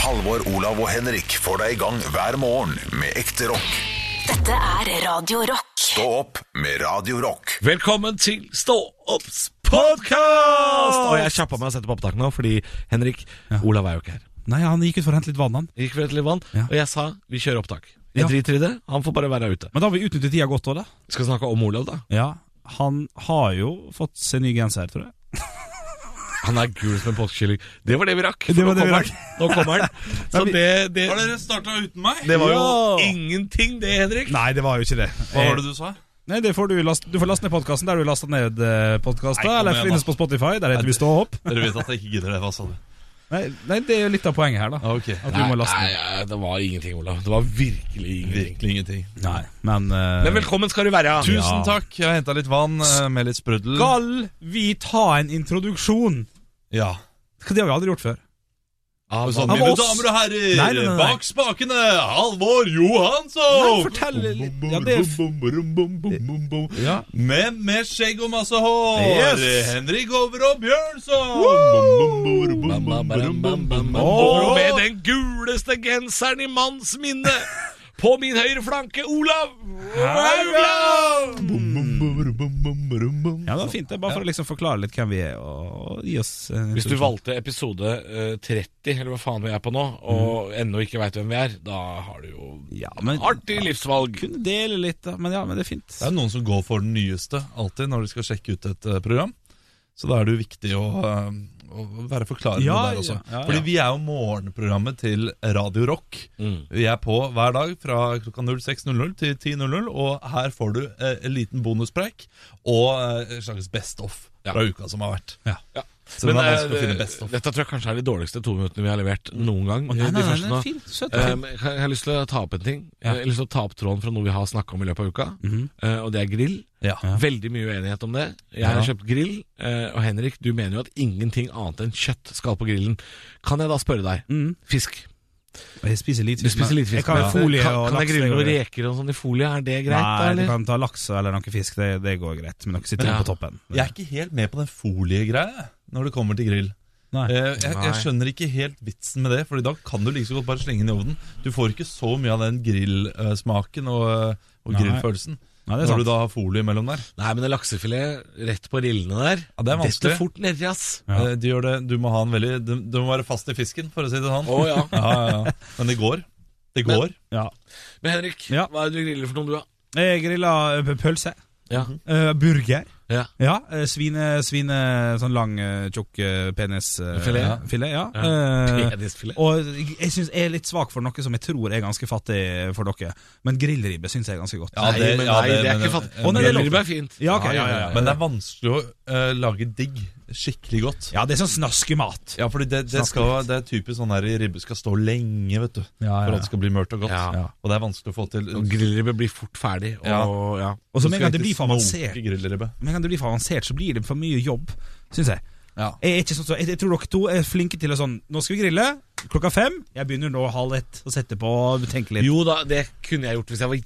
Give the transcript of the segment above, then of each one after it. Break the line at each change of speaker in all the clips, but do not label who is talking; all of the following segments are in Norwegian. Halvor, Olav og Henrik får deg i gang hver morgen med ekte rock.
Dette er Radio Rock.
Stå opp med Radio Rock.
Velkommen til Stå opps podkast!
Og jeg kjappa meg og sette på opptak nå, fordi Henrik Olav er jo ikke her.
Nei, han gikk ut for å hente litt vann, han.
Gikk for et litt vann,
Ja.
og jeg sa vi kjører opptak. Jeg
Ja.
driter i det, han får bare være ute.
Men da har vi utnyttet tida godt òg, da.
Skal snakke om Olav, da.
Ja, han har jo fått seg ny genser, tror jeg.
Han er gul som en påskekylling. Det var det vi rakk. for
Det var
nå
det vi
kommer
rakk.
han. Nå kommer han. Så det, det,
Dere starta uten meg?
det var jo
Ja.
ingenting, det, Henrik.
Nei, det var jo ikke det.
Hva var det du sa?
Nei, det får du, last, du får laste ned podkasten der du lasta ned podkasta.
Nei, kom
Eller
igjen,
finnes
da.
på Spotify. Der heter vi Stå opp.
Dere vet at jeg ikke gidder det. Hva sa du?
Nei, nei, det er jo litt av poenget her, da.
Ah, ok.
At du må laste ned.
nei, det var ingenting, Olav. Det var virkelig ingenting.
Virkelig ingenting.
Nei, men eh,
Men velkommen skal du være.
Tusen takk. Jeg har henta litt vann eh, med litt sprudel.
Skal vi ta en introduksjon?
Ja.
Hva det har vi aldri gjort før.
Og sånn,
Av
mine
oss?
damer og
Nei,
herrer,
nei, nei, nei.
bak spakene, Halvor
Nei,
Johansson!
fortell litt. Ja,
Bom,
det er f-
bom, bom, bom, bom, bom, bom.
ja.
Med, med skjegg og masse hår.
Yes.
Henrik Over og Bjørnson. Bom, bom, bom, bom, bom, bom, bom, bom.
Og
Åh!
med den guleste genseren i manns minne, på min høyre flanke, Olav Haugland!
Bom, bom, bom, bom, bom, bom, bom.
ja, det var fint. det Bare for å liksom forklare litt hvem vi er, og, og gi oss en
Hvis du
introduksjon.
valgte episode eh, 30, eller hva faen vi er på nå, og ennå ikke veit hvem vi er, da har du jo
ja, men,
artig livsvalg.
kunne dele litt, da. Men ja, men det er fint.
Det er noen som går for den nyeste alltid når de skal sjekke ut et eh, program. Så da er det jo viktig å, eh, å være forklarende
Ja,
der også.
ja, ja, ja.
Fordi vi er jo morgenprogrammet til Radio Rock.
Mm.
Vi er på hver dag fra klokka 06.00 til 10.00, og her får du eh, en liten bonuspreik og eh, en slags best of
Ja.
fra uka som har vært.
Ja.
Så det var vanskelig å
eh,
finne best of.
dette tror jeg kanskje er de dårligste to minuttene vi har levert noen gang. eh,
Nei,
de
nei, nei,
første
nei,
nå.
fint, søtt,
Eh,
fint.
men jeg har- jeg har lyst til å ta opp en ting.
Ja.
Jeg har lyst til å ta opp tråden fra noe vi har snakka om i løpet av uka, eh, og det er grill.
Ja.
Veldig mye uenighet om det. Jeg har
Ja.
kjøpt grill, eh, og Henrik, du mener jo at ingenting annet enn kjøtt skal på grillen. Kan jeg da spørre deg?
Mm.
Fisk.
Jeg spiser litt
Du spiser litt fisk.
Jeg kan
men-
ha folie
kan,
og
kan jeg
laks,
grille
det går
noen
greit.
reker og sånn i folie? Er det greit, da?
Nei, du
eller?
kan ta laks eller noe fisk. Det, det går greit. Men dere sitter
Ja.
på toppen.
Jeg er ikke helt med på den foliegreia når det kommer til grill.
Nei.
Eh, Jeg, jeg
Nei.
skjønner ikke helt vitsen med det, Fordi da kan du like så godt bare slenge den i ovnen. Du får ikke så mye av den grillsmaken og, eh, og
Nei.
grillfølelsen
Nei, det er
når du
sant.
da har folie mellom der.
Nei, men en laksefilet rett på rillene der
Ja, det er vanskelig.
Dette fort nedi, ass.
Ja.
Eh, Du, gjør det, du må ha en veldig du, du må være fast i fisken, for å si det sånn.
Å ja.
Ja, ja, ja. Men det går. Det
Men-
går.
Ja.
Men Henrik,
Ja.
hva er det du griller for noe, du, da?
Jeg grilla eh, pølse.
Ja.
eh, burger.
Ja.
Ja. eh, Svine, svine Sånn lang, eh, tjukk penisfilet.
Filet.
Ja. Filet, ja. Eh,
Penisfilet.
og jeg- jeg syns jeg er litt svak for noe som jeg tror er ganske fattig for dere. Men grillribbe syns jeg er ganske godt.
Ja,
nei,
det-
men
ja,
nei,
det-
det er
men-
ikke fattig.
Å, nei, det er lov.
Grillribbe er fint.
Ja, ok, ja, ja, ja.
Men det er vanskelig å eh, lage digg. Skikkelig godt.
Ja, det er sånn snaskemat.
Ja, fordi det, det,
Snakker
skal, det er typisk sånn her ribbe skal stå lenge, vet du.
Ja, ja,
For
ja.
at det skal bli mørt og godt.
Ja.
Og det er vanskelig å få til.
Og grillribbe blir fort ferdig. Og, ja.
Og så
Du
med en
skal
gang det blir
ikke
for avansert
smoke grillribbe.
Med en gang det blir for avansert, så blir det for mye jobb, syns jeg.
Ja.
Jeg, er ikke sånn, som- jeg, jeg tror dere to er flinke til å sånn Nå skal vi grille klokka fem. Jeg begynner nå halv ett å sette på og tenke litt.
Jo da, det kunne jeg gjort hvis jeg var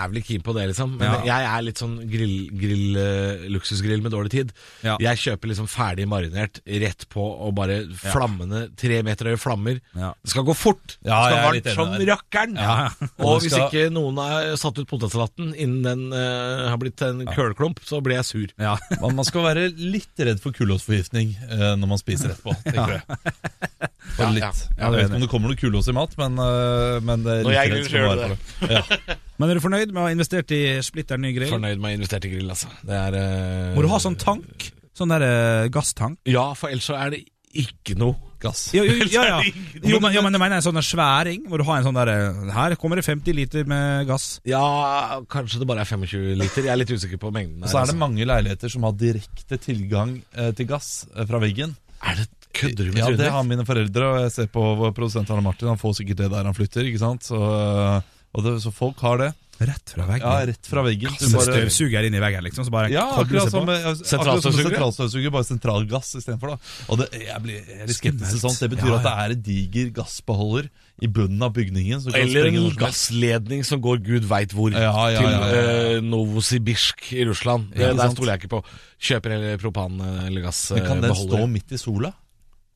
jævlig keen på det, liksom. Men
Ja.
jeg er litt sånn grill, grill eh, luksusgrill med dårlig tid.
Ja.
Jeg kjøper liksom ferdig marinert rett på og bare flammene, tre meter høye flammer.
Ja.
Det skal gå fort.
Ja,
det
jeg
skal
er litt
varmt
enig
som
der.
rakkeren.
Ja.
Og
Og det
hvis
skal-
ikke noen har satt ut potetsalaten innen den eh, har blitt en kølklump, så blir jeg sur.
Ja.
Man, man skal være litt redd for kullåsforgiftning eh, når man spiser etterpå, tenker jeg. Bare
Ja,
litt.
ja,
jeg
det er
vet ikke om det kommer noe kullås i mat, men, eh, men det er
Når
litt
jeg
redd skal man
griller,
være for det. Ja.
Men er du fornøyd med å ha investert i splitter ny grill?
Fornøyd med å ha investert i grill, altså. Det er eh,
Må du ha sånn tank? Sånn der eh, gasstank?
Ja, for ellers så er det ikke noe gass.
Jo, jo, ja, ja. jo men, ja, men jeg mener en sånn der sværing, hvor du har en sånn der eh, Her kommer det 50 liter med gass.
Ja, kanskje det bare er 25 liter. Jeg er litt usikker på mengden.
Og så er det mange leiligheter som har direkte tilgang eh, til gass eh, fra veggen.
Er det kødder du med
Ja,
trynet
det
ditt?
har mine foreldre, og jeg ser på vår produsent Arne Martin, han får sikkert det der han flytter, ikke sant? Så, eh, og det, så folk har det.
Rett fra veggen.
Ja, rett fra veggen. Du
Så
bare-
Støvsuger inn i veggen, liksom. Så bare
Ja,
kobler
akkurat
seg
som,
på.
ja, akkurat som
Sentralstøvsuger, ja.
sentralstøvsuger, bare sentralgass istedenfor. da. Og det, jeg blir jeg er litt skeptisk til
Skummelt.
sånt. Det betyr
Ja,
at det er en diger gassbeholder i bunnen av bygningen. Som kan
Eller en
sprenge når som helst.
gassledning som går gud veit hvor,
Ja, ja, ja, ja, ja.
til eh, Novosibirsk i Russland. Det,
Ikke
der
sant?
stoler jeg ikke på. Kjøper heller propan- eh, eller
Men Kan den stå
gassbeholderen.
midt i sola?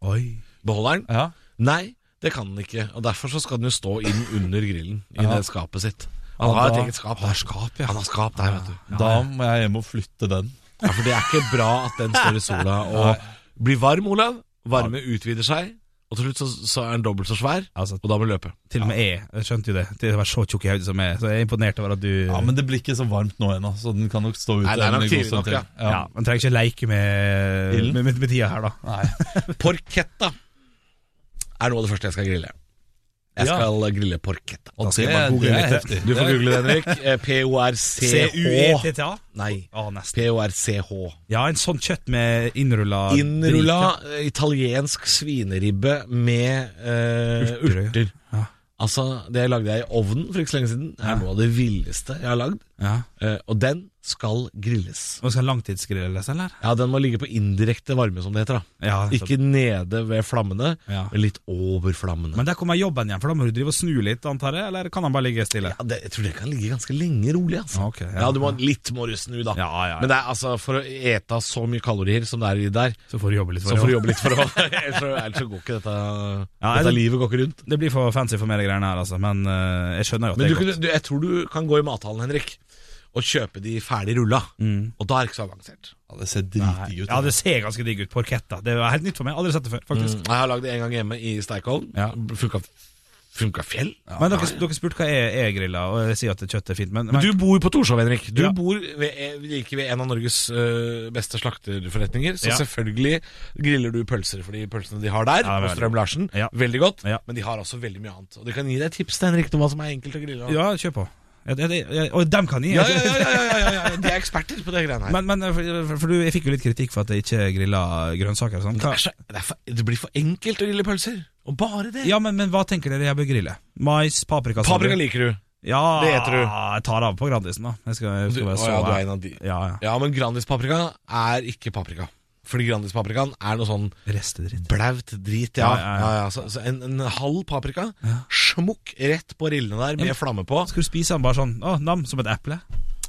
Oi.
Beholderen?
Ja.
Nei, Det kan den ikke. Og Derfor så skal den jo stå inn under grillen i
Ja.
det skapet sitt. Han
Ja,
har et
da-
eget skap. Der. Han har skap der, vet du.
Da må jeg hjem og flytte den.
Ja, For det er ikke bra at den står i sola og blir varm, Olav. Varme utvider seg, og til slutt så, så er den dobbelt så svær,
Altså,
og da må du løpe.
til og med jeg, jeg skjønte jo det. Til å være så tjukk i hodet som jeg, er. så jeg er imponert over at du
Ja, Men det blir ikke så varmt nå ennå, så den kan nok stå ute
Nei, det er
en
nok
god
tidlig nok,
stund til.
ja.
ja,
Ja.
Man trenger ikke leke med,
Ilden?
med, med, med tida her, da.
Porchetta er noe av det første jeg skal grille. Jeg
Ja.
skal grille porchetta.
Og
skal jeg
det-
bare google
det er
litt.
heftig.
Du får
Det er-
google det, Henrik. Eh, P-O-R-C-H.
C-U-E-T-T-A?
Nei,
Ja, nesten.
P-O-R-C-H.
Ja, en sånn kjøtt med innrulla
Innrulla eh, italiensk svineribbe med eh,
Urter, ja.
urter.
Ja.
Altså, det lagde jeg i ovnen for ikke så lenge siden. Det er noe av det villeste jeg har lagd.
Ja.
Eh, og den skal grilles.
Og skal langtidsgrilles, eller?
Ja, den må ligge på indirekte varme, som det heter. da
Ja,
Ikke nede ved flammene,
Ja.
men litt over flammene.
Men der kommer jobben igjen, for da må du drive og snu litt, antar jeg? Eller kan han bare ligge stille?
Ja, det, jeg tror det kan ligge ganske lenge rolig, altså.
Ja, ok,
ja.
ja.
du må litt må du snu, da.
Ja, ja, ja.
Men det er, altså, for å ete så mye kalorier som det er i der,
Så får du jobbe litt
så får du jobbe litt for å Ellers så, ellers så går ikke dette
Ja,
Dette
det-
livet går ikke rundt.
Det blir for fancy for meg, de greiene her, altså. Men eh, jeg skjønner jo at
Men
det
du,
er
kunne- du, jeg tror du kan gå i mathallen, Henrik, og kjøpe de ferdig rulla. Og da er det ikke så avansert.
Ja, det ser
godt.
dritdigg ut.
Mm. Ja, det ser ganske digg ut. Porchetta. Det er helt nytt for meg. Aldri sett det før, faktisk.
Jeg har lagd det en gang hjemme i Steikollen.
Ja.
Funka, funka fjell.
men dere, dere spurte hva jeg, jeg grilla, og jeg sier at kjøttet er fint, men, men
Du bor på Torshov, Henrik. Du
Ja.
bor ved, eh, like ved en av Norges ø, beste slakterforretninger. Så
Ja.
selvfølgelig griller du pølser for de pølsene de har der.
Ja, det er
og Strøm Larsen.
Ja.
Veldig godt.
Ja.
Men de har også veldig mye annet. Og de kan gi deg tips til Henrik om hva som er enkelt å grille.
Ja, kjør på. Ja, det- det- ja, Og dem kan jeg!
ja, ja, ja, ja, ja, ja, ja. De er eksperter på de greiene her.
Men, men eh, for, for, for du, jeg fikk jo litt kritikk for at jeg ikke grilla grønnsaker. og Sånn.
det,
Hva,
er så, det, er for, det blir for enkelt å grille pølser. Og bare det.
ja, altså, men, men hva tenker dere jeg bør grille? Mais, paprika sa
Paprika
du?
liker du.
Ja,
Det eter du.
Jeg tar av på Grandisen, da. Jeg skal, jeg
Du-
skal være
å
så
ja, du er en av de.
Ja, ja.
Ja, men Grandis-paprika er ikke paprika. Fordi Grandis-paprikaen er noe sånn
Restedritt.
Blaut drit, ja.
Ja, ja, ja.
ja, ja. Så, så en, en halv paprika, smukk rett på rillene der med
Ja, men-
flamme på.
Skal du spise den bare sånn? Å, nam, som et eple?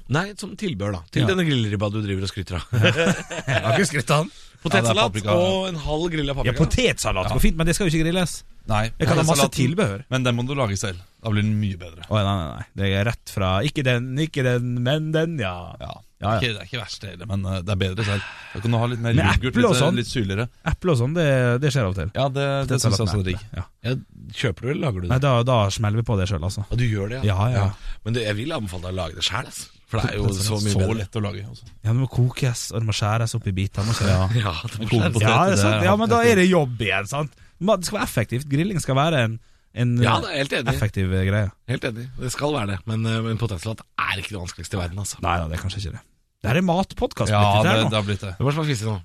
Nei, som tilbehør, da. Til
Ja.
denne grillribba du driver og skryter av.
Jeg har ikke skrytt av den.
Ja,
Potetsalat
det er paprika.
og en halv grilla
Ja,
paprika.
Potetsalat går fint, men det skal jo ikke grilles.
Nei,
Jeg kan ha masse
salaten,
tilbehør.
Men den må du lage selv. Da blir den mye bedre.
Å, nei, nei, nei. Det er rett fra Ikke den, ikke den, men den, ja.
Ja,
Ja, ja.
Ikke, Det er ikke verst det heller, men eh, det er bedre selv. Da kan du ha litt mer
Med
yoghurt,
eple og
litt, eh,
sånn.
litt syrligere.
Eple og sånn, det, det skjer av og til.
Ja, det, det,
Det
synes jeg
salaten
også
er
er digg.
eple, ja.
Ja, kjøper du eller lager du
Nei,
det?
da, da smeller vi på det sjøl, altså.
Og du gjør det,
Ja, ja.
Men det, jeg vil anbefale deg å lage det sjæl, altså. For det er jo så
sånn Så,
mye bedre.
lett å lage. altså. Også.
Ja, det må kokes, og det må skjæres opp i biter. må ikke- Ja.
Ja, det er
Koke
klart.
poteter,
Ja, det
det
er sant.
er
ja,
alt
men
jeg
da
skal-
er det jobb igjen, sant? Ma- Det skal være effektivt. Grilling skal være en, en
ja, det er helt enig.
effektiv eh, greie.
Helt enig. Det skal være det. Men, eh, men potetsalat er ikke det vanskeligste i verden, altså.
Nei, nei, det er kanskje ikke det. Det her er matpodkast.
Ja,
blitt,
det,
her nå.
det har blitt det.
Hvem er det som har fisset nå?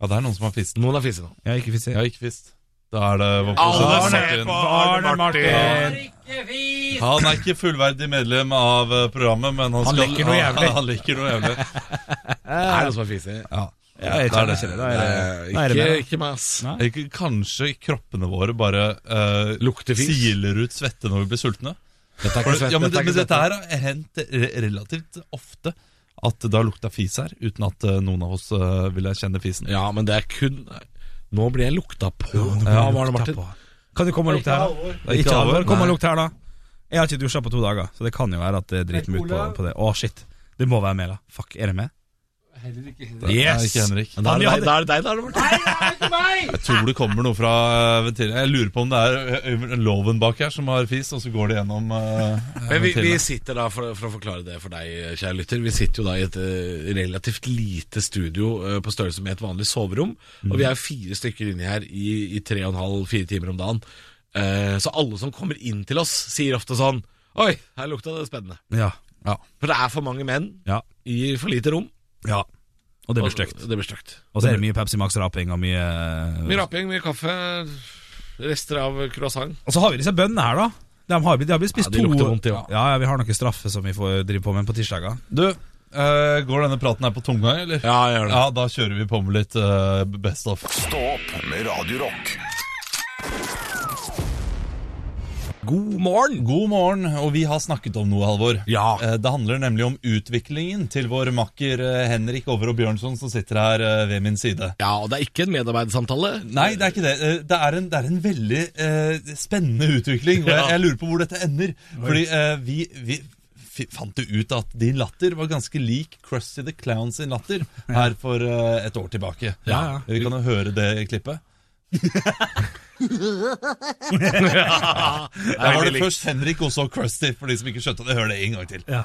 Ja, det er noen som har fist.
Noen har fisset nå.
Jeg har ikke fått se.
Jeg har ikke fist. Da er det vår
Alle
produsent,
ser på!
Martin.
Arne Martin!
Han er ikke fullverdig medlem av eh, programmet, men han, skal,
liker noe jævlig.
Han liker noe jævlig.
Er det noen som har fisset?
Ja.
Ja, jeg
Da
kjenner
er det-
ikke det. Da er det, da er det
ikke,
mer, da.
ikke meg, ass.
Nei.
Ikke- Kanskje kroppene våre bare eh,
Lukter fis.
siler ut svette når vi blir sultne.
Dette er
For,
ikke
det-
svett,
ja, men,
dette
det,
er
men
ikke
dette
svett.
her har hendt re- relativt ofte at det har lukta fis her, uten at eh, noen av oss eh, ville kjenne fisen.
Ja, men det er kun Nå blir jeg lukta på.
Ja,
Ja,
hva
var
er
det, Martin?
Kan du komme og lukte her, da? Det er
Ikke
Ikke alvor.
alvor,
Kom og
nei.
lukt her, da. Jeg har ikke dusja på to dager, så det kan jo være at det driter meg ut på, på det. Å, shit. Det må være med, da. Fuck, er det med?
Det er ikke Henrik.
Da er
vi
det deg,
hadde-
da er det deg, da, er det Martin.
Jeg tror det kommer noe fra eh, ventilen. Jeg lurer på om det er Øyvind Loven bak her som har fis, og så går det gjennom eh,
Men vi, vi
ventilen.
sitter da, for, for å forklare det for deg, kjære lytter Vi sitter jo da i et eh, relativt lite studio eh, på størrelse med et vanlig soverom. Og vi er fire stykker inni her i, i tre og en halv, fire timer om dagen. Eh, så alle som kommer inn til oss, sier ofte sånn Oi, her lukta det spennende.
Ja.
For det er for mange menn
Ja.
i for lite rom.
ja. Og det
og-
blir stygt.
Det blir stygt.
Og så er det mye Pepsi Max-raping og mye
Mye rapping, mye kaffe, rester av croissant.
Og så har vi disse bøndene her, da. De har, de har blitt spist
Ja, de
to
lukter vondt, de
ja.
også.
ja, Vi har noen straffer som vi får drive på med på tirsdager.
Du, eh, går denne praten her på tomgang, eller?
Ja, gjør
Ja, da kjører vi på med litt eh, Best of.
Stå opp med Radio Rock.
God morgen!
God morgen, og vi har snakket om noe, Halvor.
Ja.
Eh, Det handler nemlig om utviklingen til vår makker eh, Henrik Overå Bjørnson, som sitter her eh, ved min side.
Ja, og det er ikke en medarbeidersamtale.
Nei, det er ikke det. Eh, Det er en, det er en veldig eh, spennende utvikling, og jeg, jeg lurer på hvor dette ender. Fordi eh, vi, vi fi- fant jo ut at din latter var ganske lik Krusty the Clown sin latter her for eh, et år tilbake. Eh,
Ja, ja.
Vi kan jo høre det klippet. Der var det først Henrik og så Krusty, for de som ikke skjønte det. Hør det en gang til.
Ja.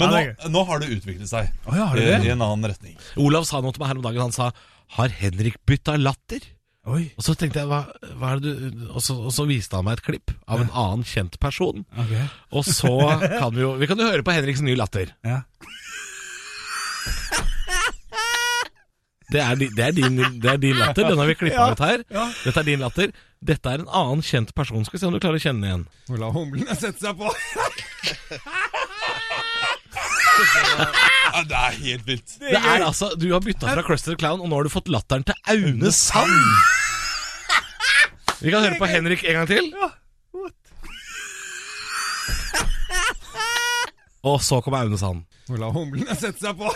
Men
Ja,
nå,
det er
nå har det utviklet seg
Å ja, har det
eh,
det?
i en annen retning.
Olav sa noe til meg her om dagen. Han sa 'Har Henrik bytta latter?'
Oi.
Og så tenkte jeg, hva, hva er det du og så, og så viste han meg et klipp av en annen kjent person.
Ok.
Og så kan vi jo Vi kan jo høre på Henriks nye latter.
Ja.
Det er, di- det er, din, det er din latter. Den har vi klippa ut her.
ja.
Dette er din latter. Dette er en annen kjent person. Skal vi se om du klarer å kjenne igjen.
La humlene sette seg på.
Ja, det er helt vilt.
Det er altså, Du har bytta fra Cluster Clown, og nå har du fått latteren til Aune Sand. Vi kan høre på Henrik en gang til. Og så kommer Aune Sand.
La humlene sette seg på.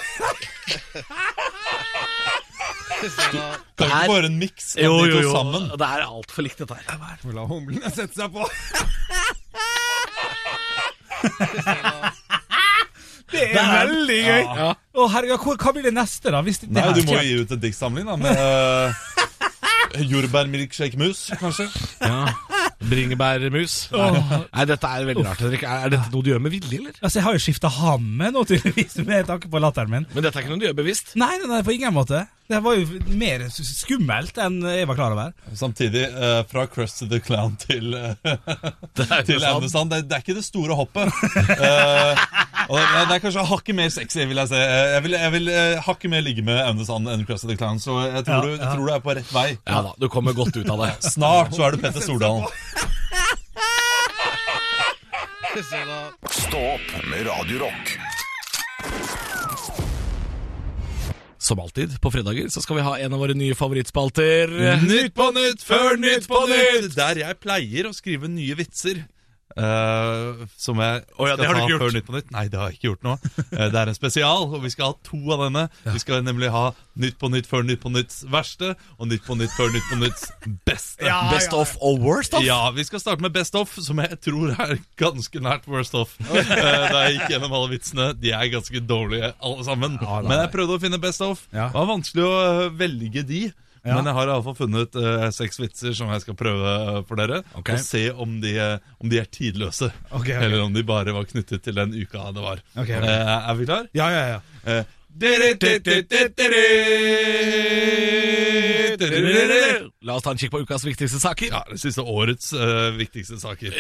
Det er
Det er-
ikke bare en miks av de to sammen.
Det er altfor likt, dette her.
La humlene sette seg på. Det er veldig gøy.
Ja.
Å, herregud, hva- hva blir det neste, da? Hvis det, det
Nei,
her
du må
skal-
gi ut en diktsamling da, med uh, jordbærmilkshake-mus, kanskje.
ja. Bringebærmus. Nei. Nei, dette er veldig rart. Henrik. Er er dette noe du gjør med vilje, eller?
Altså, Jeg har jo skifta hamme nå, tydeligvis, med tanke på latteren min.
Men dette er ikke noe du gjør bevisst.
Nei, nei, nei, på ingen måte. Det var jo mer skummelt enn jeg var klar over.
Samtidig, eh, fra Krusty the Clown til, eh, til Aune Sand. Det, det er ikke det store hoppet. Eh, og det, det er kanskje hakket mer sexy, vil jeg si. Eh, Jeg vil, jeg vil eh, hakket mer ligge med Aune Sand enn Krusty the Clown, så jeg tror, du, jeg tror du er på rett vei.
Ja da, du kommer godt ut av det.
Snart så er du Petter Stordalen.
Stå opp med Radio Rock.
Som alltid, på fredager så skal vi ha en av våre nye favorittspalter.
Nytt på nytt før Nytt på nytt! Der jeg pleier å skrive nye vitser. eh, som jeg skal
det har du
ta
ikke gjort.
før Nytt på nytt. Nei, det har jeg ikke gjort nå. Eh, det er en spesial, og vi skal ha to av denne. Vi skal nemlig ha Nytt på nytt før Nytt på nytts verste, og Nytt på nytt før Nytt på nytts beste.
Best of og worst of.
Ja, vi skal starte med Best Off, som jeg tror er ganske nært Worst Off. Eh, Da jeg gikk gjennom alle vitsene. De er ganske dårlige, alle sammen. Men jeg prøvde å finne Best Off.
Ja.
Det var vanskelig å eh, velge de. Men jeg har iallfall funnet eh, seks vitser som jeg skal prøve eh, for dere.
Ok.
Og se om de, eh, om de er tidløse,
Ok, ok.
eller om de bare var knyttet til den uka det var.
Ok, ok.
Eh, Er vi klar?
Ja, ja, ja.
Eh, dere-dere-dere-dere.
La oss ta en kikk på ukas viktigste saker.
Ja, det siste årets eh, viktigste saker.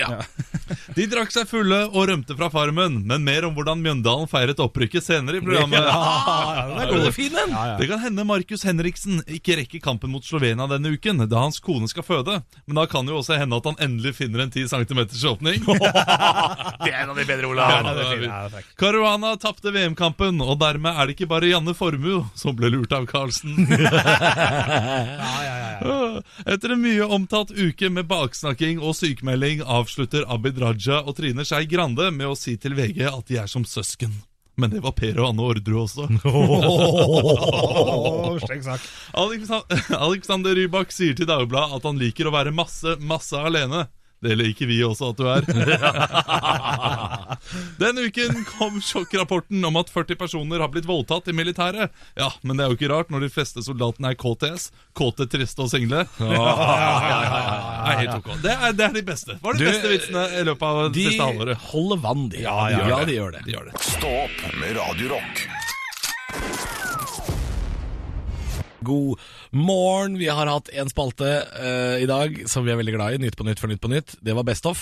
De drakk seg fulle og rømte fra farmen, men mer om hvordan Mjøndalen feiret opprykket senere i programmet.
Det er god fin en.
Det kan hende Markus Henriksen ikke rekker kampen mot Slovenia denne uken, da hans kone skal føde. Men da kan jo også hende at han endelig finner en 10 cm åpning.
Det er en av de bedre,
Ja,
Olav.
det er fint. Caruana tapte VM-kampen, og dermed er det ikke bare Janne Formue som ble lurt av Carlsen. Etter en mye omtalt uke med baksnakking og sykemelding avslutter Abid Raja og Trine Skei Grande med å si til VG at de er som søsken. Men det var Per og Anne Orderud også.
Åh, Streng sak.
Alexan- Alexander Rybak sier til Dagbladet at han liker å være masse, masse alene. Det liker vi også at du er. Den uken kom sjokkrapporten om at 40 personer har blitt voldtatt i militæret. Ja, men det er jo ikke rart når de fleste soldatene er KTS. Kåte, triste og single. Nei, helt ok. Det er, det er de beste. Var de
Du,
beste vitsene i løpet av det
De
siste halvåret.
holder vann, de. Ja,
ja, ja.
de gjør det.
De gjør det.
Stå opp med Radio Rock.
God morgen. Vi har hatt en spalte eh, i dag som vi er veldig glad i. Nytt på nytt for Nytt på nytt. Det var Best of.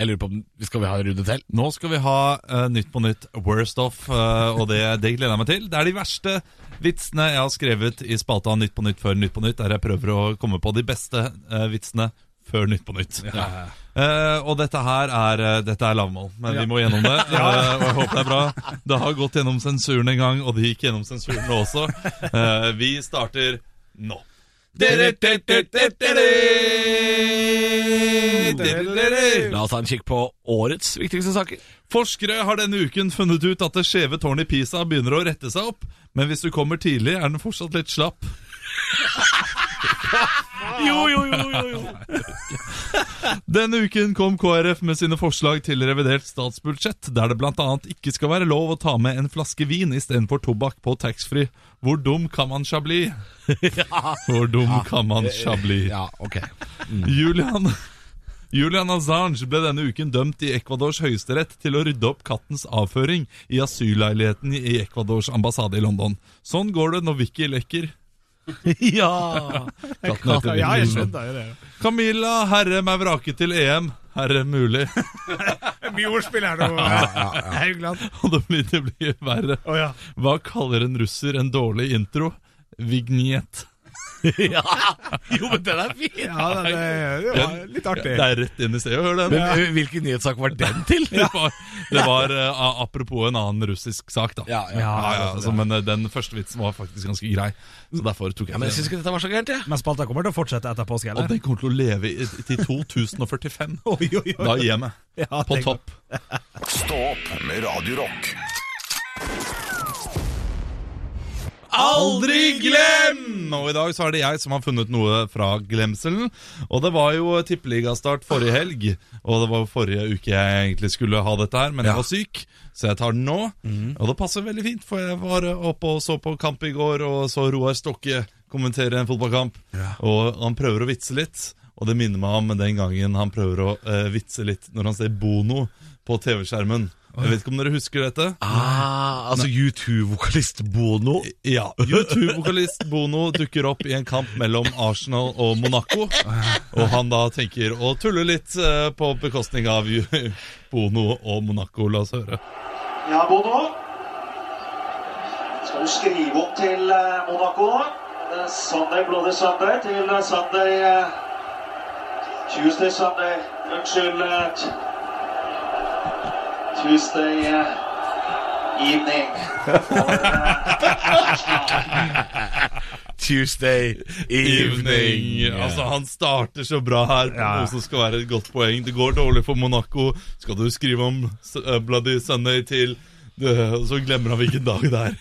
Jeg lurer på om vi skal vi ha en runde til.
Nå skal vi ha eh, Nytt på nytt Worst Off, eh, og det, det gleder jeg meg til. Det er de verste vitsene jeg har skrevet i spalta Nytt på nytt før Nytt på nytt, der jeg prøver å komme på de beste eh, vitsene før Nytt på nytt. Eh, og dette her er, eh, dette er lavmål, men vi må gjennom det. eh, og jeg håper det er bra. Det har gått gjennom sensuren en gang, og det gikk gjennom sensuren nå også. Eh, vi starter nå.
La oss ta en kikk på årets viktigste saker.
Forskere har denne uken funnet ut at det skjeve tårnet i Pisa begynner å rette seg opp, men hvis du kommer tidlig, er den fortsatt litt slapp.
Jo, jo, jo, jo, jo.
Denne uken kom KrF med sine forslag til revidert statsbudsjett, der det bl.a. ikke skal være lov å ta med en flaske vin istedenfor tobakk på taxfree. Hvor dum kan man sja bli? Hvor dum kan man sja bli?
Ja, ok.
Julian Julian Assange ble denne uken dømt i Ecuadors høyesterett til å rydde opp kattens avføring i asylleiligheten i Ecuadors ambassade i London. Sånn går det når Vicky lekker.
Ja
Katten heter Vicky.
Ja, jeg skjønner jo det.
Camilla Herrem er vraket til EM. Herrem mulig.
Mjordspill er noe Jeg er jo glad.
Og det blir, det blir verre.
Å ja.
Hva kaller en russer en dårlig intro? Vignett.
Jo, men den er fin!
ja det, det, det var litt artig.
Det er rett inn i stedet, hør den.
Men eh, hvilken nyhetssak var den til?
Det var, det var eh, apropos en annen russisk sak, da.
Ja, ja.
altså, men eh, den første vitsen var faktisk ganske grei, så derfor tok jeg
Men
den.
jeg syns ikke dette var så gærent, jeg.
Men spalta kommer til å fortsette etter påske,
Og
eller?
den kommer til å leve i- til 2045.
Oi, oi, oi.
Da gir jeg meg.
Ja,
På
tenk-
topp.
Stå opp med Radio Rock.
Aldri glem! Og i dag så er det jeg som har funnet noe fra glemselen. Og det var jo tippeligastart forrige helg, og det var jo forrige uke jeg egentlig skulle ha dette her, men jeg var syk, så jeg tar den nå. Og det passer veldig fint, for jeg var oppe og så på kamp i går, og så Roar Stokke kommentere en fotballkamp, og han prøver å vitse litt. Og det minner meg om den gangen han prøver å eh, vitse litt når han ser Bono på TV-skjermen. Jeg vet ikke om dere husker dette?
Ah, altså U2-vokalist Bono.
Ja, YouTube-vokalist Bono dukker opp i en kamp mellom Arsenal og Monaco. Og han da tenker å tulle litt eh, på bekostning av ju- Bono og Monaco. La oss høre.
Ja, Bono. Skal du skrive opp til eh, Monaco nå? Eh, Sunday, Bloody Sunday til eh, Sunday eh, Tuesday, Sunday Unnskyld. eh, t- Tuesday eh, evening. eh,
Tuesday
Evening. Altså, han starter så bra her på noe som skal være et godt poeng. Det går dårlig for Monaco. Skal du skrive om s- eh, Bloody Sunday til eh, Og så glemmer han hvilken dag det er.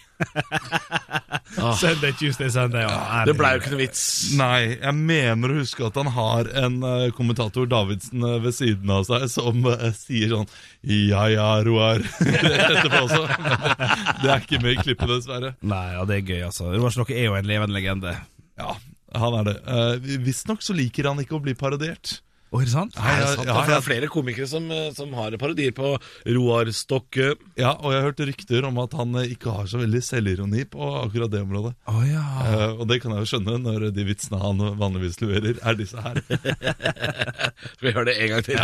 Sunday, Tuesday, Sunday. Ja,
Det blei jo ikke noe vits.
Nei, jeg mener å huske at han har en eh, kommentator, Davidsen, eh, ved siden av seg, som eh, sier sånn Ja ja, Roar. Etterpå også. Men det er ikke med i klippet, dessverre.
Nei, ja, det er gøy, altså. Roar Slokke er jo en levende legende.
Ja, han er det. Uh, Visstnok så liker han ikke å bli parodiert.
Å, er det sant?
Er det sant?
ja,
For det er flere komikere som, eh, som har parodier på Roar Stokke.
ja, og jeg har hørt rykter om at han eh, ikke har så veldig selvironi på akkurat det området.
Å ja.
Eh, og det kan jeg jo skjønne, når de vitsene han vanligvis leverer, er disse her.
Skal vi høre det en gang til?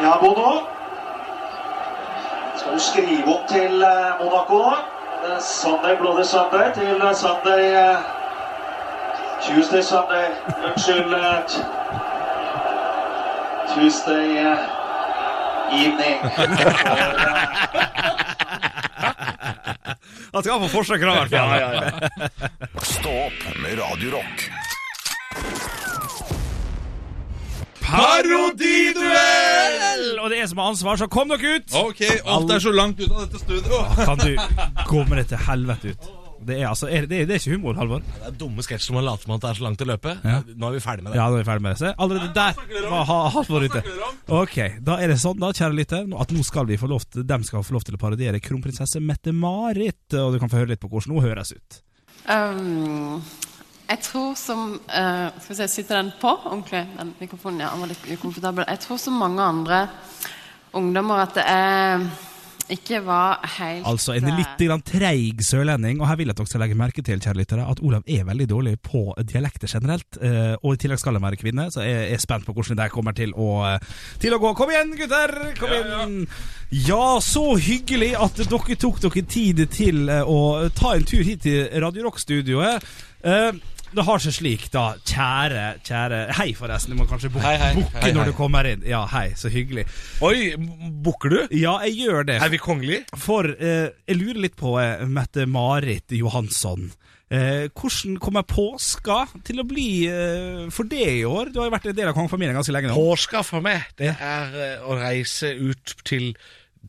Ja, Bono. Skal du skrive opp til eh, Monaco nå? Eh, Sunday, Bloody Sunday til eh, Sunday eh, Tuesday, Sunday Unnskyld. eh, t- Tuesday eh, evening. eh,
Han skal få forsøk i hvert fall.
Stå opp med Radio Rock.
Parodiduell!
Vel, Og det er som har ansvar, så kom dere ut!
Ok, alt er så langt ut av dette studio.
Kan du gå med det til helvete ut? Det er, altså, er, det, er, det er ikke humor, Halvor.
Det er dumme sketsjer som man later som at det er så langt å løpe. Nå er vi ferdig med det.
Ja, nå er vi ferdig med det. Se, allerede der var ha, Halvor ute. Ok, da er det sånn, da, kjære lytter, nå- at nå skal vi få lov til, dem skal få lov til å parodiere kronprinsesse Mette-Marit. Og du kan få høre litt på hvordan hun høres ut.
Ehm, jeg tror som eh, Skal vi se, sitter den på ordentlig? Den mikrofonen, ja, den var litt ukomfortabel. Jeg tror som mange andre ungdommer at det er ikke var helt
Altså en
eh,
litt grann treig sørlending. Og her vil jeg at dere skal legge merke til kjære lyttere, at Olav er veldig dårlig på dialekter generelt. eh, Og i tillegg skal han være kvinne, så jeg er spent på hvordan det her kommer til å, eh, til å gå. Kom igjen, gutter! Kom igjen! Ja, så hyggelig at dere tok dere tid til eh, å ta en tur hit til Radio Rock-studioet. Eh, det har seg slik, da. Kjære, kjære Hei, forresten. Du må kanskje bukke
Hei, hei.
bukke
Hei, hei.
når du kommer inn. Ja, hei. Så hyggelig.
Oi, m- bukker du?
Ja, jeg gjør det.
Er vi kongelige?
For eh, jeg lurer litt på eh, Mette-Marit Johansson. Eh, hvordan kommer påska til å bli eh, for det i år? Du har jo vært en del av kongefamilien ganske lenge nå.
Påska for meg, det er eh, å reise ut til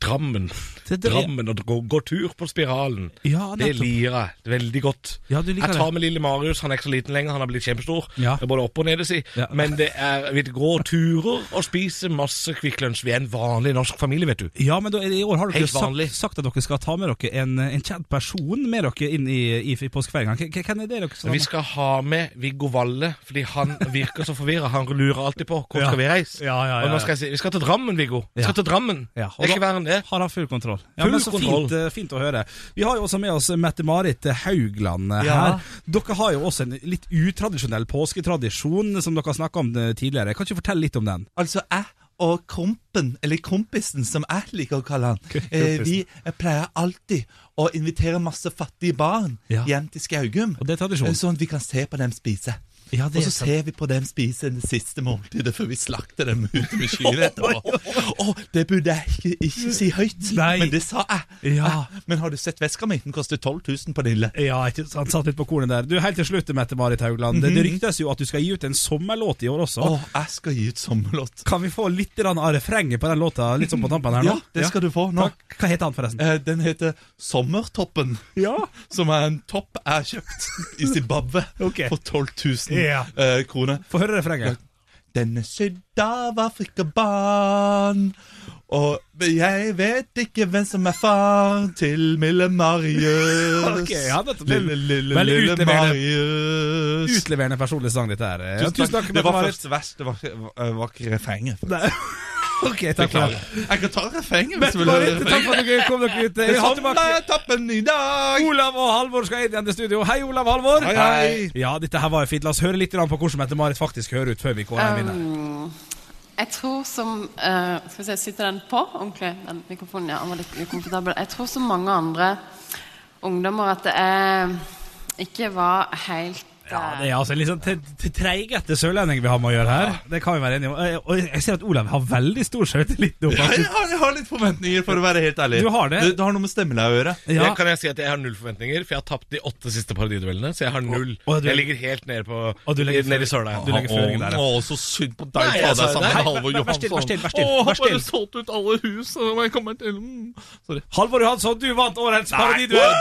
Drammen.
Til Dra-
Drammen og gå, gå tur på Spiralen.
Ja,
det
Ah, nettopp.
liker jeg Det er veldig godt.
Ja, du liker
jeg tar
det.
med lille Marius, han er ikke så liten lenger, han har blitt kjempestor.
Ja.
Det er Både opp og ned, si.
Ja.
Men det er vi går turer og spiser masse Kvikk Lunsj. Vi er en vanlig norsk familie, vet du.
Ja, men da, i år har dere
Helt
jo sagt,
vanlig.
sagt at dere skal ta med dere en, en kjent person med dere inn i, i, i påskefeiringa. Hvem hvem er det dere skal
Vi skal ha med Viggo Valle, fordi han virker så forvirra. Han lurer alltid på hvor
Ja.
skal vi reise.
Ja, ja, ja,
Og
ja.
nå skal jeg si vi skal til Drammen, Viggo. Vi
Ja.
skal til Drammen.
Ja,
det
og
er
da-
ikke verre enn det.
Har han full kontroll. Ja,
Full
men så
kontroll.
Fint, eh, fint å høre. Vi har jo også med oss Mette-Marit Haugland eh,
Ja.
her. Dere har jo også en litt utradisjonell påsketradisjon som dere har snakka om eh, tidligere. Kan ikke du fortelle litt om den?
Altså, jeg og kompen, eller kompisen som jeg liker å kalle han, eh, vi pleier alltid å invitere masse fattige barn
Ja.
hjem til Skaugum.
Og det er tradisjon.
eh, Sånn at vi kan se på dem spise.
Ja,
Og så ser vi på dem spise det siste måltidet før vi slakter dem ut med kyr etterpå. Å, det burde jeg ikke, ikke si høyt,
Nei.
men det sa jeg.
Ja.
Eh, Men har du sett veska mi? Den koster 12 000 på Nille.
Ja, ikke sant? Satt litt på kornet der. Du, Helt til slutt, Mette-Marit Haugland. Det ryktes jo at du skal gi ut en sommerlåt i år også.
Å, jeg skal gi ut sommerlåt.
Kan vi få litt grann av refrenget på den låta litt sånn på tampen her nå?
Ja, det skal du få nå.
Takk. Hva heter han, forresten?
Eh, Den heter Sommertoppen.
Ja.
Som er en topp jeg har kjøpt i Zimbabwe
Ok.
for 12 000
Ja.
eh, kroner.
Få høre refrenget.
Den er sydd av Afrikabarn, og jeg vet ikke hvem som er far til Mille Marius.
Ok, ja, dette ble
lille, lille,
veldig
lille
utleverende.
Marius.
Utleverende personlig sang, dette her. Ja,
Tusen takk. Det var
Mette-Marit.
første vers, det var, var, var ikke refrenget.
Ok, takk for det.
Jeg kan ta refrenget hvis du vil høre
Mette-Marit, takk
refrenget.
for at dere kom dere ut. Vi har tilbake
Sommertoppen i dag!
Olav og Halvor skal inn igjen til studio. Hei, Olav og Halvor.
Hei, hei.
Ja, dette her var jo fint. La oss høre litt grann på hvordan Mette-Marit faktisk hører ut før vi går hjem. Um.
Um, jeg tror som eh, Skal vi se, sitter den på ordentlig? Den mikrofonen, ja. Den var litt ukomfortabel. Jeg tror som mange andre ungdommer at jeg ikke var helt
Ja,
eh,
det er altså en litt sånn te- te- treigete sørlending vi har med å gjøre her. Det kan vi være enige om. Eh, Og jeg ser at Olav har veldig stor sjøltillit nå,
Ja, jeg
faktisk.
har, jeg har litt forventninger, for å være helt ærlig.
Du har det?
Det, har noe med stemmelære å gjøre.
Ja.
Jeg kan jeg si at jeg har null forventninger, for jeg har tapt de åtte siste parodiduellene. Så jeg har null.
Å, du-
jeg ligger helt nede, på,
Å, du legger-
nede i søla.
Du legger føringen der, ja.
Å, så synd på deg,
Nei, jeg
fader,
sa det.
sammen
Nei,
med Halvor
vær- vær still, vær
Johansson.
still, vær still,
Å, han
vær still.
bare solgt ut alle hus, og jeg kommer til Mm. Sorry.
Halvor Johansson, du vant årets
Wow!
parodiduell.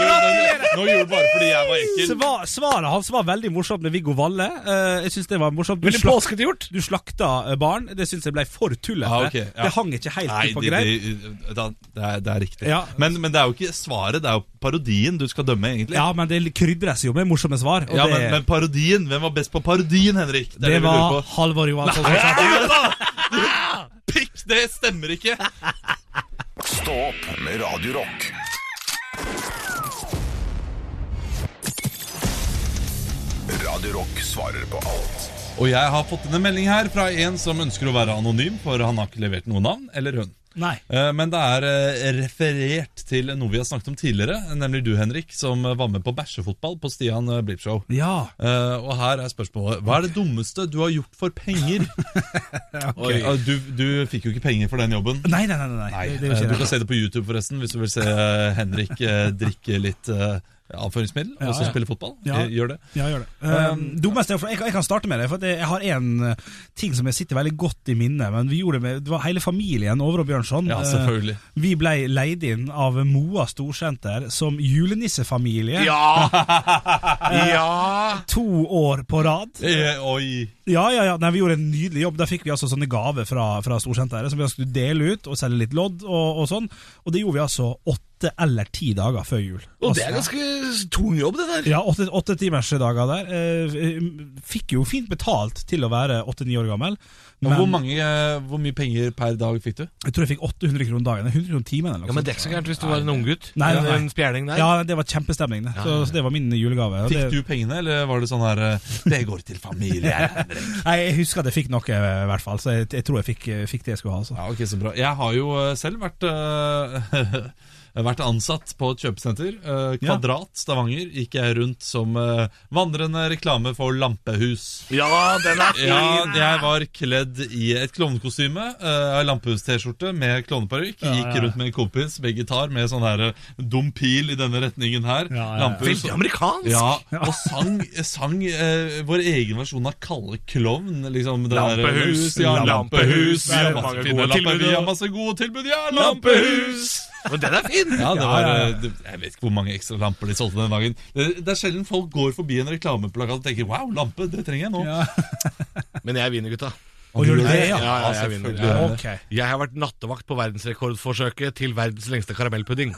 Nå gjorde du bare fordi jeg var ekkel.
Sva- Svaret hans var veldig morsomt med Viggo Valle. Eh, jeg synes det var morsomt. Du,
Ville
slak-
påskete gjort?
du slakta eh, barn. Det syns jeg ble for tullete.
Ah, ok, ja.
Det hang ikke helt
Nei,
ut på
de,
greip.
de, da, det, er, det er riktig.
Ja.
Men, men det er jo ikke svaret, det er jo parodien du skal dømme, egentlig.
Ja, men det krydres jo med morsomme svar. Og
Ja,
det,
men, men parodien, hvem var best på parodien, Henrik? Det
det,
er det, vi
var
lurer på.
Halvor Johansson. som sa det.
Pikk, det stemmer ikke!
Stå opp med Radio Rock. Radio Rock svarer på alt.
Og jeg har fått inn en melding her fra en som ønsker å være anonym, for han har ikke levert noe navn, eller hun.
Nei.
Eh, Men det er eh, referert til noe vi har snakket om tidligere, nemlig du, Henrik, som eh, var med på bæsjefotball på Stian eh, Blipp-show.
Ja.
Eh, og her er spørsmålet Hva er det dummeste du har gjort for penger? Oi, eh, du, du fikk jo ikke penger for den jobben.
Nei, nei, nei. nei, nei. Det, det er jo
Eh, du
ikke
kan
det.
se det på YouTube, forresten, hvis du vil se eh, Henrik eh, drikke litt eh, avføringsmiddel
Ja,
og så
ja.
spille fotball.
Ja.
Eh, Gjør det.
Ja, gjør det.
Ehm.
Um, dummeste, jeg, jeg kan starte med det. For det- jeg har en eh, ting som jeg sitter veldig godt i minnet. Men vi gjorde det med det var hele familien over og Bjørnson.
Ja,
Eh,
selvfølgelig.
Vi ble leid inn av Moa Storsenter som julenissefamilie
Ja! ja!
to år på rad.
Eh, oi.
Ja, ja, ja. Nei, vi gjorde en nydelig jobb. Der fikk vi altså sånne gaver fra, fra Storsenteret som vi altså skulle dele ut og selge litt lodd og, og sånn. Og det gjorde vi altså åtte eller ti dager før jul.
Og det er
Altså,
ganske tung jobb, det der.
Ja, åtte, åtte timersdager der. Eh, fikk jo fint betalt til å være åtte-ni år gammel.
Men,
Men
hvor, mange, eh, hvor mye penger per dag fikk du?
jeg tror jeg fikk 800 kroner dagen. 100 kroner timen eller noe
Ja, Men det er ikke så gærent hvis du var en unggutt.
Nei, nei, nei.
En spjerning der.
Ja, det var kjempestemning, det. Så, så det var min julegave. og
Fikk
det,
du pengene, eller var det sånn her eh, Det går til familie. Henrik.
Nei, jeg husker at jeg fikk noe, i hvert fall. Så jeg, jeg tror jeg fikk, fikk det jeg skulle ha. Altså.
Ja, ok, så bra. Jeg har jo eh, selv vært eh, vært ansatt på et kjøpesenter. eh,
Ja.
Kvadrat Stavanger gikk jeg rundt som eh, vandrende reklame for lampehus.
Ja, den er
Ja, jeg var kledd i et klovnekostyme, uh, lampehus-T-skjorte med klovneparykk. Gikk rundt med en kompis med gitar med sånn her eh, dum pil i denne retningen her.
Ja, ja, ja.
Lampehus.
Veldig amerikansk!
Ja, og sang, sang eh, vår egen versjon av Kalle Klovn. Liksom, den der-
Lampehus,
ja,
lampehus.
lampehus. Vi har
Det er mange gode tilbud,
masse fine lapper, vi har
ja.
masse gode tilbud, ja,
Lampehus!
lampehus!
Men den er fin!
Ja, det var, eh, det- Jeg vet ikke hvor mange ekstra lamper de solgte den dagen. Det, det er sjelden folk går forbi en reklameplakat og tenker 'wow, lampe, det trenger jeg nå'.
Ja.
Men jeg vinner, gutta.
Og gjør du det, ja?
Ja, ja, jeg vinner.
selvfølgelig.
Ja.
Ok.
Jeg har vært nattevakt på verdensrekordforsøket til verdens lengste karamellpudding.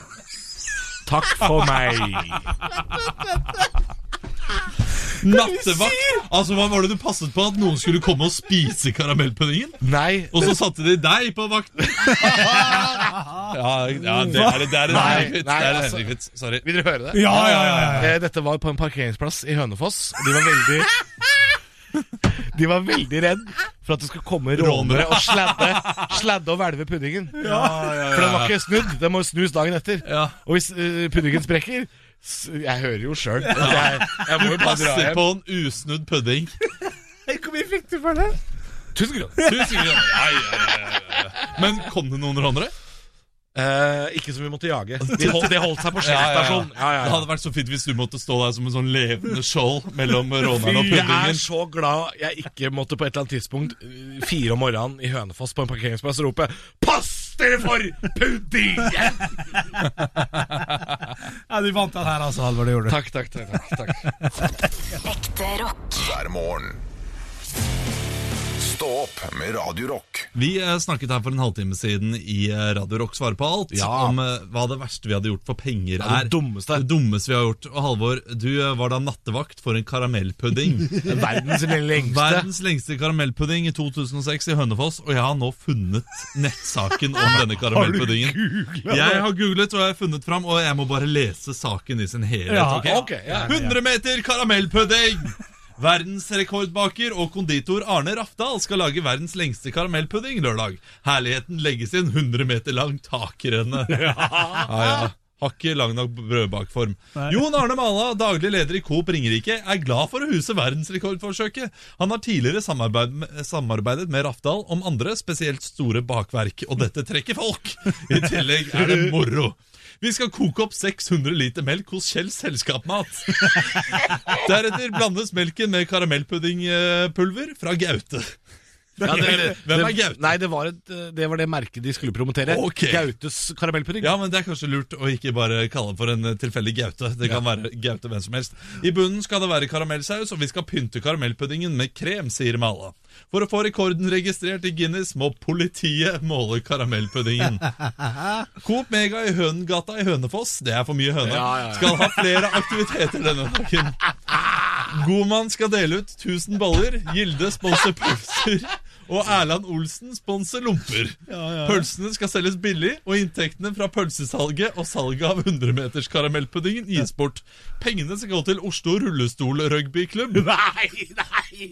Takk for meg.
Nattevakt! Altså, Hva var det du passet på? At noen skulle komme og spise karamellpuddingen?
Nei,
Og så satte de deg på vakten! ja, ja, det er det. Det er en
Nei,
Henrik-vits. Det
nei,
er en
altså-
Henrik-vits. Sorry. Ah,
vil dere høre det?
Ja, ja, ja, ja.
Eh, Dette var på en parkeringsplass i Hønefoss. De var veldig De var veldig redd for at det skulle komme rånere og sladde, sladde og hvelve puddingen. For den var ikke snudd. Den må snus dagen etter.
Ja.
Og hvis eh, puddingen sprekker s- Jeg hører jo sjøl. Jeg, jeg må jo bare dra
Passer
hjem.
på en usnudd pudding.
Hvor mye fikk du for det?
Tusen kroner.
Tusen kroner. Ja, ja, ja, ja. Men kom det noen rånere?
Eh, ikke som vi måtte jage. De holdt, de holdt seg på
Ja, ja, ja.
skjellstasjon. Ja, ja,
Det
ja.
hadde vært så fint hvis du måtte stå der som en sånn levende skjold mellom råneren og
Jeg er
puddingen.
så glad jeg ikke måtte på et eller annet tidspunkt eh, fire om morgenen i Hønefoss på en parkeringsplass rope 'Pass dere for puddingen!'
Ja, Du vant den her, altså, Halvor. Det gjorde du.
Takk, takk, takk. takk, takk.
Ekte rock.
Hver morgen. Stå opp med Radio Rock.
Vi eh, snakket her for en halvtime siden i eh, Radio Rock Svar på alt
Ja.
om eh, hva det verste vi hadde gjort for penger
Ja,
er.
det dummeste.
Det dummeste vi har gjort. Og Halvor, du eh, var da nattevakt for en karamellpudding.
Verdens lengste.
Verdens lengste karamellpudding i 2006 i Hønefoss, og jeg har nå funnet nettsaken om denne karamellpuddingen. Jeg har googlet og jeg har funnet fram, og jeg må bare lese saken i sin helhet.
Ja,
ok?
ok, ja, ja.
100 meter karamellpudding! Verdensrekordbaker og konditor Arne Rafdal skal lage verdens lengste karamellpudding lørdag. Herligheten legges i en 100 meter lang takrenne. Ja, ja. Har ikke lang nok brødbakform. Jon Arne Mala, daglig leder i Coop Ringerike, er glad for å huse verdensrekordforsøket. Han har tidligere samarbeid med, samarbeidet med Rafdal om andre, spesielt store bakverk, og dette trekker folk. I tillegg er det moro. Vi skal koke opp 600 liter melk hos Kjell Selskapmat. Deretter blandes melken med karamellpuddingpulver fra Gaute.
Ja, det,
Hvem er
det-
Gaute?
Nei, det var, et, eh, det var det merket de skulle promotere.
Ok.
Gautes karamellpudding.
Ja, men det er kanskje lurt å ikke bare kalle det for en eh, tilfeldig gaute. Det kan være gaute hvem som helst. I bunnen skal det være karamellsaus, og vi skal pynte karamellpuddingen med krem, sier Mala. For å få rekorden registrert i Guinness må politiet måle karamellpuddingen. Coop Mega i Hønengata i Hønefoss, det er for mye høne,
Ja, ja, ja.
skal ha flere aktiviteter denne dagen. Godmann skal dele ut 1000 boller, Gilde sponser pølser, og Erland Olsen sponser lomper. Pølsene skal selges billig, og inntektene fra pølsesalget og salget av 100-meters karamellpuddingen gis bort. Pengene skal gå til Oslo Rullestol Rugbyklubb.
Nei, nei!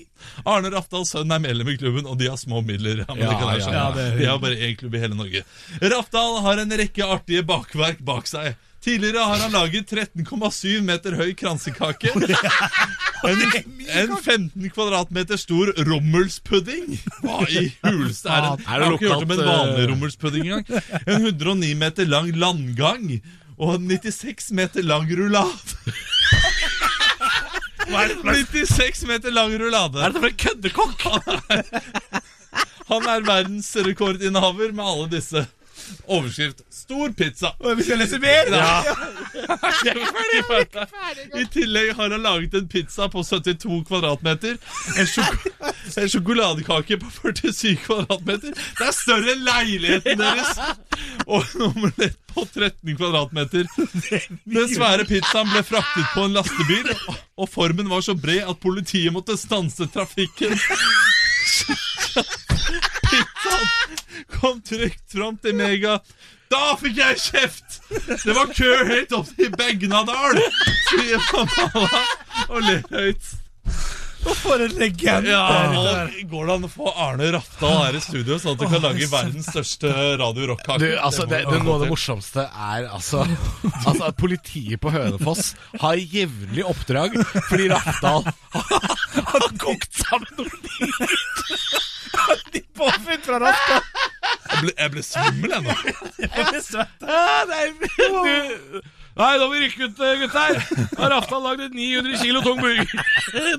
Arne Rafdals sønn er medlem i klubben, og de har små midler. Ja, men det
Ja,
kan jeg
ja,
skjønne. De har bare én klubb i hele Norge. Rafdal har en rekke artige bakverk bak seg. Tidligere har han laget 13,7 meter høy kransekake. En, en 15 kvadratmeter stor rommelspudding. Hva i huleste er det?
Er det
Jeg har ikke hørt om en
lokalt, eh,
vanlig rommelspudding engang. En 109 meter lang landgang og en 96 meter lang rullade. 96 meter lang rullade. Er det for en køddekokk? Han er, han er verdensrekordinnehaver med alle disse. Overskrift 'Stor pizza'.
Vi skal lese mer! da.
I tillegg har han laget en pizza på 72 kvadratmeter. En, sjok en sjokoladekake på 47 kvadratmeter. Det er større enn leiligheten deres! Og en omelett på 13 kvadratmeter. Den svære pizzaen ble fraktet på en lastebil, og- og formen var så bred at politiet måtte stanse trafikken. Pizzaen kom trygt fram til Mega. Da fikk jeg kjeft! Det var kø helt opp til Begnadal, sier mamma og ler høyt.
For en legende!
Eh,
Ja, og Går det an å få Arne Rafdal her i studio, sånn at du kan lage verdens største radio rock-kake?
Du, altså, det, det, noe av det morsomste er altså, altså at politiet på Hønefoss har jevnlig oppdrag fordi Rafdal har kokt sammen noen
Påfunn fra Rasta!
Jeg ble, jeg ble svimmel ennå.
Nei, da må vi rykke ut, eh, gutter! Har Rafdal lagd en 900 kilo tung burger?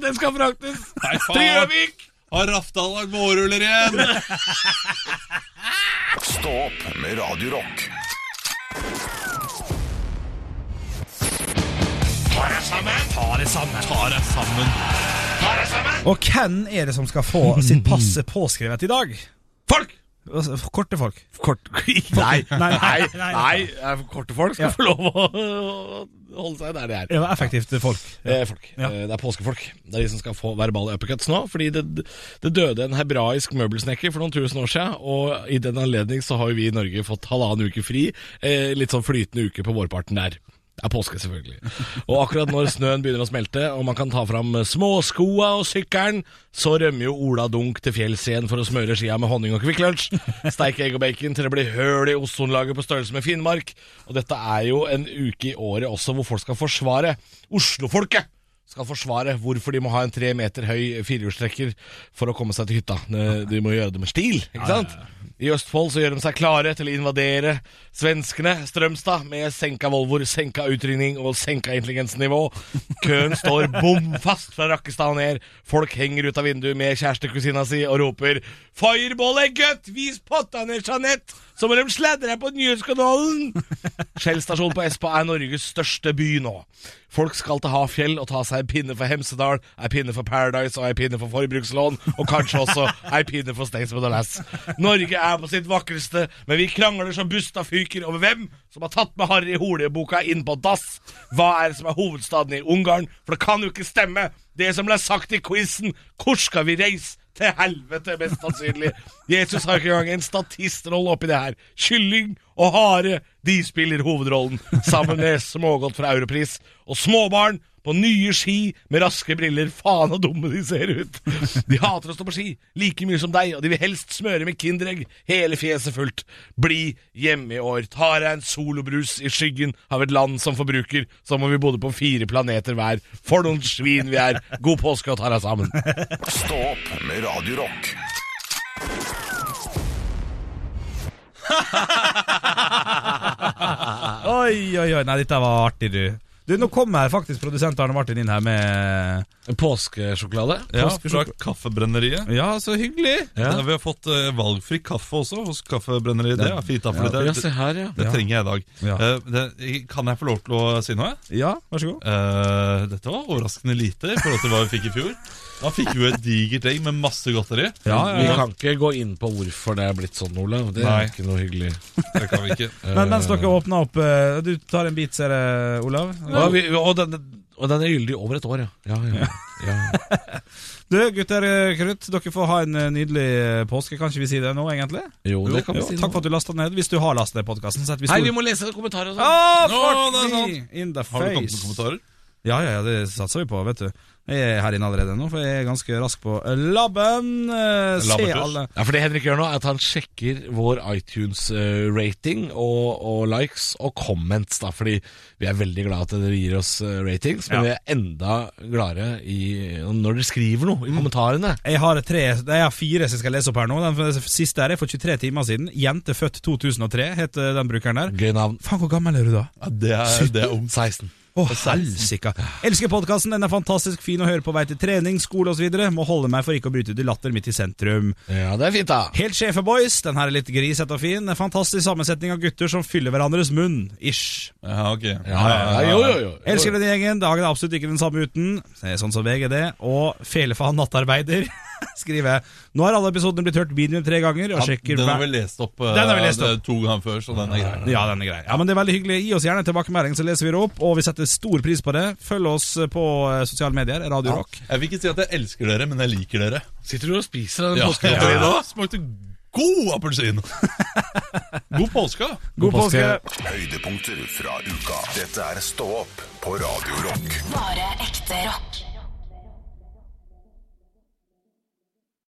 Den skal fraktes
Nei, faen.
til Gjøvik!
Har Rafdal lagd vårruller igjen?
Stå opp med Radio Rock.
Ta deg sammen.
Og hvem er det som skal få sitt passe påskrevet i dag?
Folk!
Altså, Korte folk.
Kort Nei, nei, nei,
nei.
nei. eh, Korte folk skal få lov å å holde seg der de er.
Det var effektivt folk.
Eh, folk.
Ja.
Eh, det er påskefolk. Det er de som skal få verbale uppercuts nå. Fordi det, det døde en hebraisk møbelsnekker for noen tusen år siden, og i den anledning så har jo vi i Norge fått halvannen uke fri. Eh, litt sånn flytende uke på vårparten der. Det er påske, selvfølgelig. Og akkurat når snøen begynner å smelte, og man kan ta fram småskoa og sykkelen, så rømmer jo Ola Dunk til fjells igjen for å smøre skia med honning og Kvikk Lunsj. Steik egg og bacon til det blir høl i ozonlaget på størrelse med Finnmark. Og dette er jo en uke i året også hvor folk skal forsvare Oslofolket skal forsvare hvorfor de må ha en tre meter høy firehjulstrekker for å komme seg til hytta. Ne- De må gjøre det med stil, ikke sant? I Østfold så gjør de seg klare til å invadere svenskene, Strømstad, med senka Volvoer, senka utrydning og senka intelligensnivå. Køen står bom fast fra Rakkestad og ned. Folk henger ut av vinduet med kjærestekusina si og roper 'Fireball er gøtt! Vis potta ned, Jeanette! Så må de sladre deg på nyhetskanalen!' Shell stasjon på Espa er Norges største by nå. Folk skal til Hafjell og ta seg en pinne for Hemsedal, ei pinne for Paradise og ei pinne for forbrukslån, og kanskje også ei pinne for Staysman og Lass. Norge er på sitt vakreste, men vi krangler som busta fyker over hvem som har tatt med Harry Hole-boka inn på dass. Hva er det som er hovedstaden i Ungarn? For det kan jo ikke stemme, det som ble sagt i quizen. Hvor skal vi reise? Til helvete, mest sannsynlig. Jesus har ikke engang en statistrolle oppi det her. Kylling og hare, de spiller hovedrollen, sammen med smågodt fra Europris. Og småbarn på nye ski med raske briller. Faen så dumme de ser ut. De hater å stå på ski, like mye som deg, og de vil helst smøre med Kinderegg hele fjeset fullt. Bli hjemme i år. Ta deg en solobrus i skyggen av et land som forbruker, som om vi bodde på fire planeter hver. For noen svin vi er. God påske og ta deg sammen.
Stå opp med Radio Rock.
Oi, oi, oi. Nei, dette var artig, du. Du, Nå kommer faktisk produsent Arne Martin inn her med
Påskesjokolade?
Ja, fra Kaffebrenneriet.
Ja, så hyggelig!
Der Vi har fått eh, valgfri kaffe også hos Kaffebrenneriet. Det er fint, da, for det,
Ja, se her, ja.
det trenger jeg i dag.
Ja.
Eh, det, kan jeg få lov til å si noe?
Ja, vær så god.
Eh, dette var overraskende lite i forhold til hva vi fikk i fjor. Da fikk vi jo et digert egg med masse godteri.
Vi kan ikke gå inn på hvorfor det er blitt sånn, Olav. Det
Nei.
er ikke noe hyggelig.
Det kan vi ikke. eh.
Men mens dere åpner opp eh, Du tar en bit, ser jeg, Olav.
Og, vi, og, den, og den er gyldig over et år, ja. ja, ja. ja.
Du, gutter eh, krutt, dere får ha en eh, nydelig eh, påske. Kan ikke vi si det nå, egentlig?
Jo, det kan vi
Jo,
si.
takk for at du lasta ned, hvis du har lasta ned podkasten.
Hei, vi må lese kommentarer og sånn.
Å,
Ah! Nå,
fuck
det er
me! In the
Har du kommet med
face.
kommentarer?
Ja, ja, ja, det satser vi på, vet du. Jeg er her inne allerede nå, for jeg er ganske rask på labben. Eh, Se
Labbekurs.
alle
Ja, for Det Henrik gjør nå, er at han sjekker vår iTunes-rating og, og likes og comments. da, Fordi vi er veldig glad at dere gir oss eh, ratings, men vi er enda gladere i, når dere skriver noe i kommentarene.
Jeg har, tre, jeg har fire som jeg skal lese opp her nå. Den siste her er for 23 timer siden. Jente født 2003 heter den brukeren der.
Gøy navn.
Faen, hvor gammel er du da?
Ja, det er, det er
16.
Å, helsika. Elsker podkasten. Den er fantastisk fin å høre på vei til trening, skole osv. Må holde meg for ikke å bryte ut i latter midt i sentrum.
Ja, det er fint, da.
Helt sjefe, boys. Den her er litt grisete og fin. En fantastisk sammensetning av gutter som fyller hverandres munn. Ish.
Ja, ok.
Ja, ja, ja, jo, jo, jo.
Elsker den gjengen. Dagen er absolutt ikke den samme uten. Det er Sånn som VG det. Og felefaen nattarbeider. Skriver jeg. Nå har alle episodene blitt hørt minimum tre ganger. Og
Ja,
sjekker
den har
hver-
vi lest opp, eh,
Den har vi lest
det to ganger før, så den er grei.
Ja, den er grei. Ja, men det er veldig hyggelig. Gi oss gjerne tilbakemelding, så leser vi det opp. Og vi setter stor pris på det. Følg oss på eh, sosiale medier. Radio Rock.
Jeg vil ikke si at jeg elsker dere, men jeg liker dere.
Sitter du og spiser den
Ja,
påskegodterien nå?
Smakte god appelsin! God påske!
God påske!
Høydepunkter fra uka. Dette er Stå opp på Radio Rock.
Bare